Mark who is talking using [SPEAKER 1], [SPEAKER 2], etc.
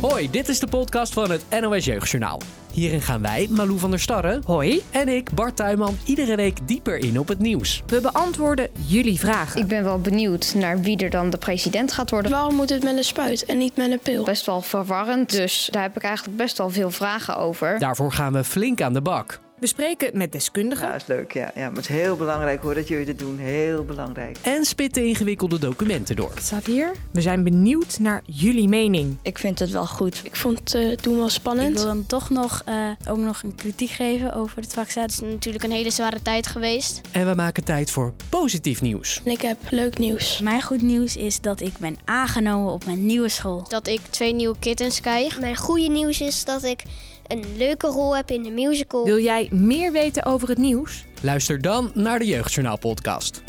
[SPEAKER 1] Hoi, dit is de podcast van het NOS Jeugdjournaal. Hierin gaan wij, Malou van der Starre
[SPEAKER 2] Hoi,
[SPEAKER 1] en ik, Bart Tuinman, iedere week dieper in op het nieuws.
[SPEAKER 2] we beantwoorden jullie vragen.
[SPEAKER 3] Ik ben wel benieuwd naar wie er dan de president gaat worden.
[SPEAKER 4] Waarom moet het met een spuit en niet met een pil?
[SPEAKER 3] Best wel verwarrend, dus daar heb ik eigenlijk best wel veel vragen over.
[SPEAKER 1] Daarvoor gaan we flink aan de bak.
[SPEAKER 2] We spreken met deskundigen.
[SPEAKER 5] Ja, is leuk. Ja. ja, maar het is heel belangrijk hoor dat jullie dit doen. Heel belangrijk.
[SPEAKER 1] En spitten ingewikkelde documenten door.
[SPEAKER 2] staat hier. We zijn benieuwd naar jullie mening.
[SPEAKER 6] Ik vind het wel goed.
[SPEAKER 4] Ik vond eh, het doen wel
[SPEAKER 7] Ik
[SPEAKER 4] spannend.
[SPEAKER 7] wil hem toch nog, eh, ook nog een kritiek geven over het vaccin.
[SPEAKER 8] is natuurlijk een hele zware tijd geweest.
[SPEAKER 1] En we maken tijd voor positief nieuws.
[SPEAKER 4] En ik heb leuk nieuws.
[SPEAKER 7] Mijn goed nieuws is dat ik ben aangenomen op mijn nieuwe school.
[SPEAKER 8] Dat ik twee nieuwe kittens krijg. Mijn goede nieuws is dat ik een leuke rol heb in de musical.
[SPEAKER 2] Wil jij meer weten over het nieuws?
[SPEAKER 1] Luister dan naar de Jeugdjournaal podcast.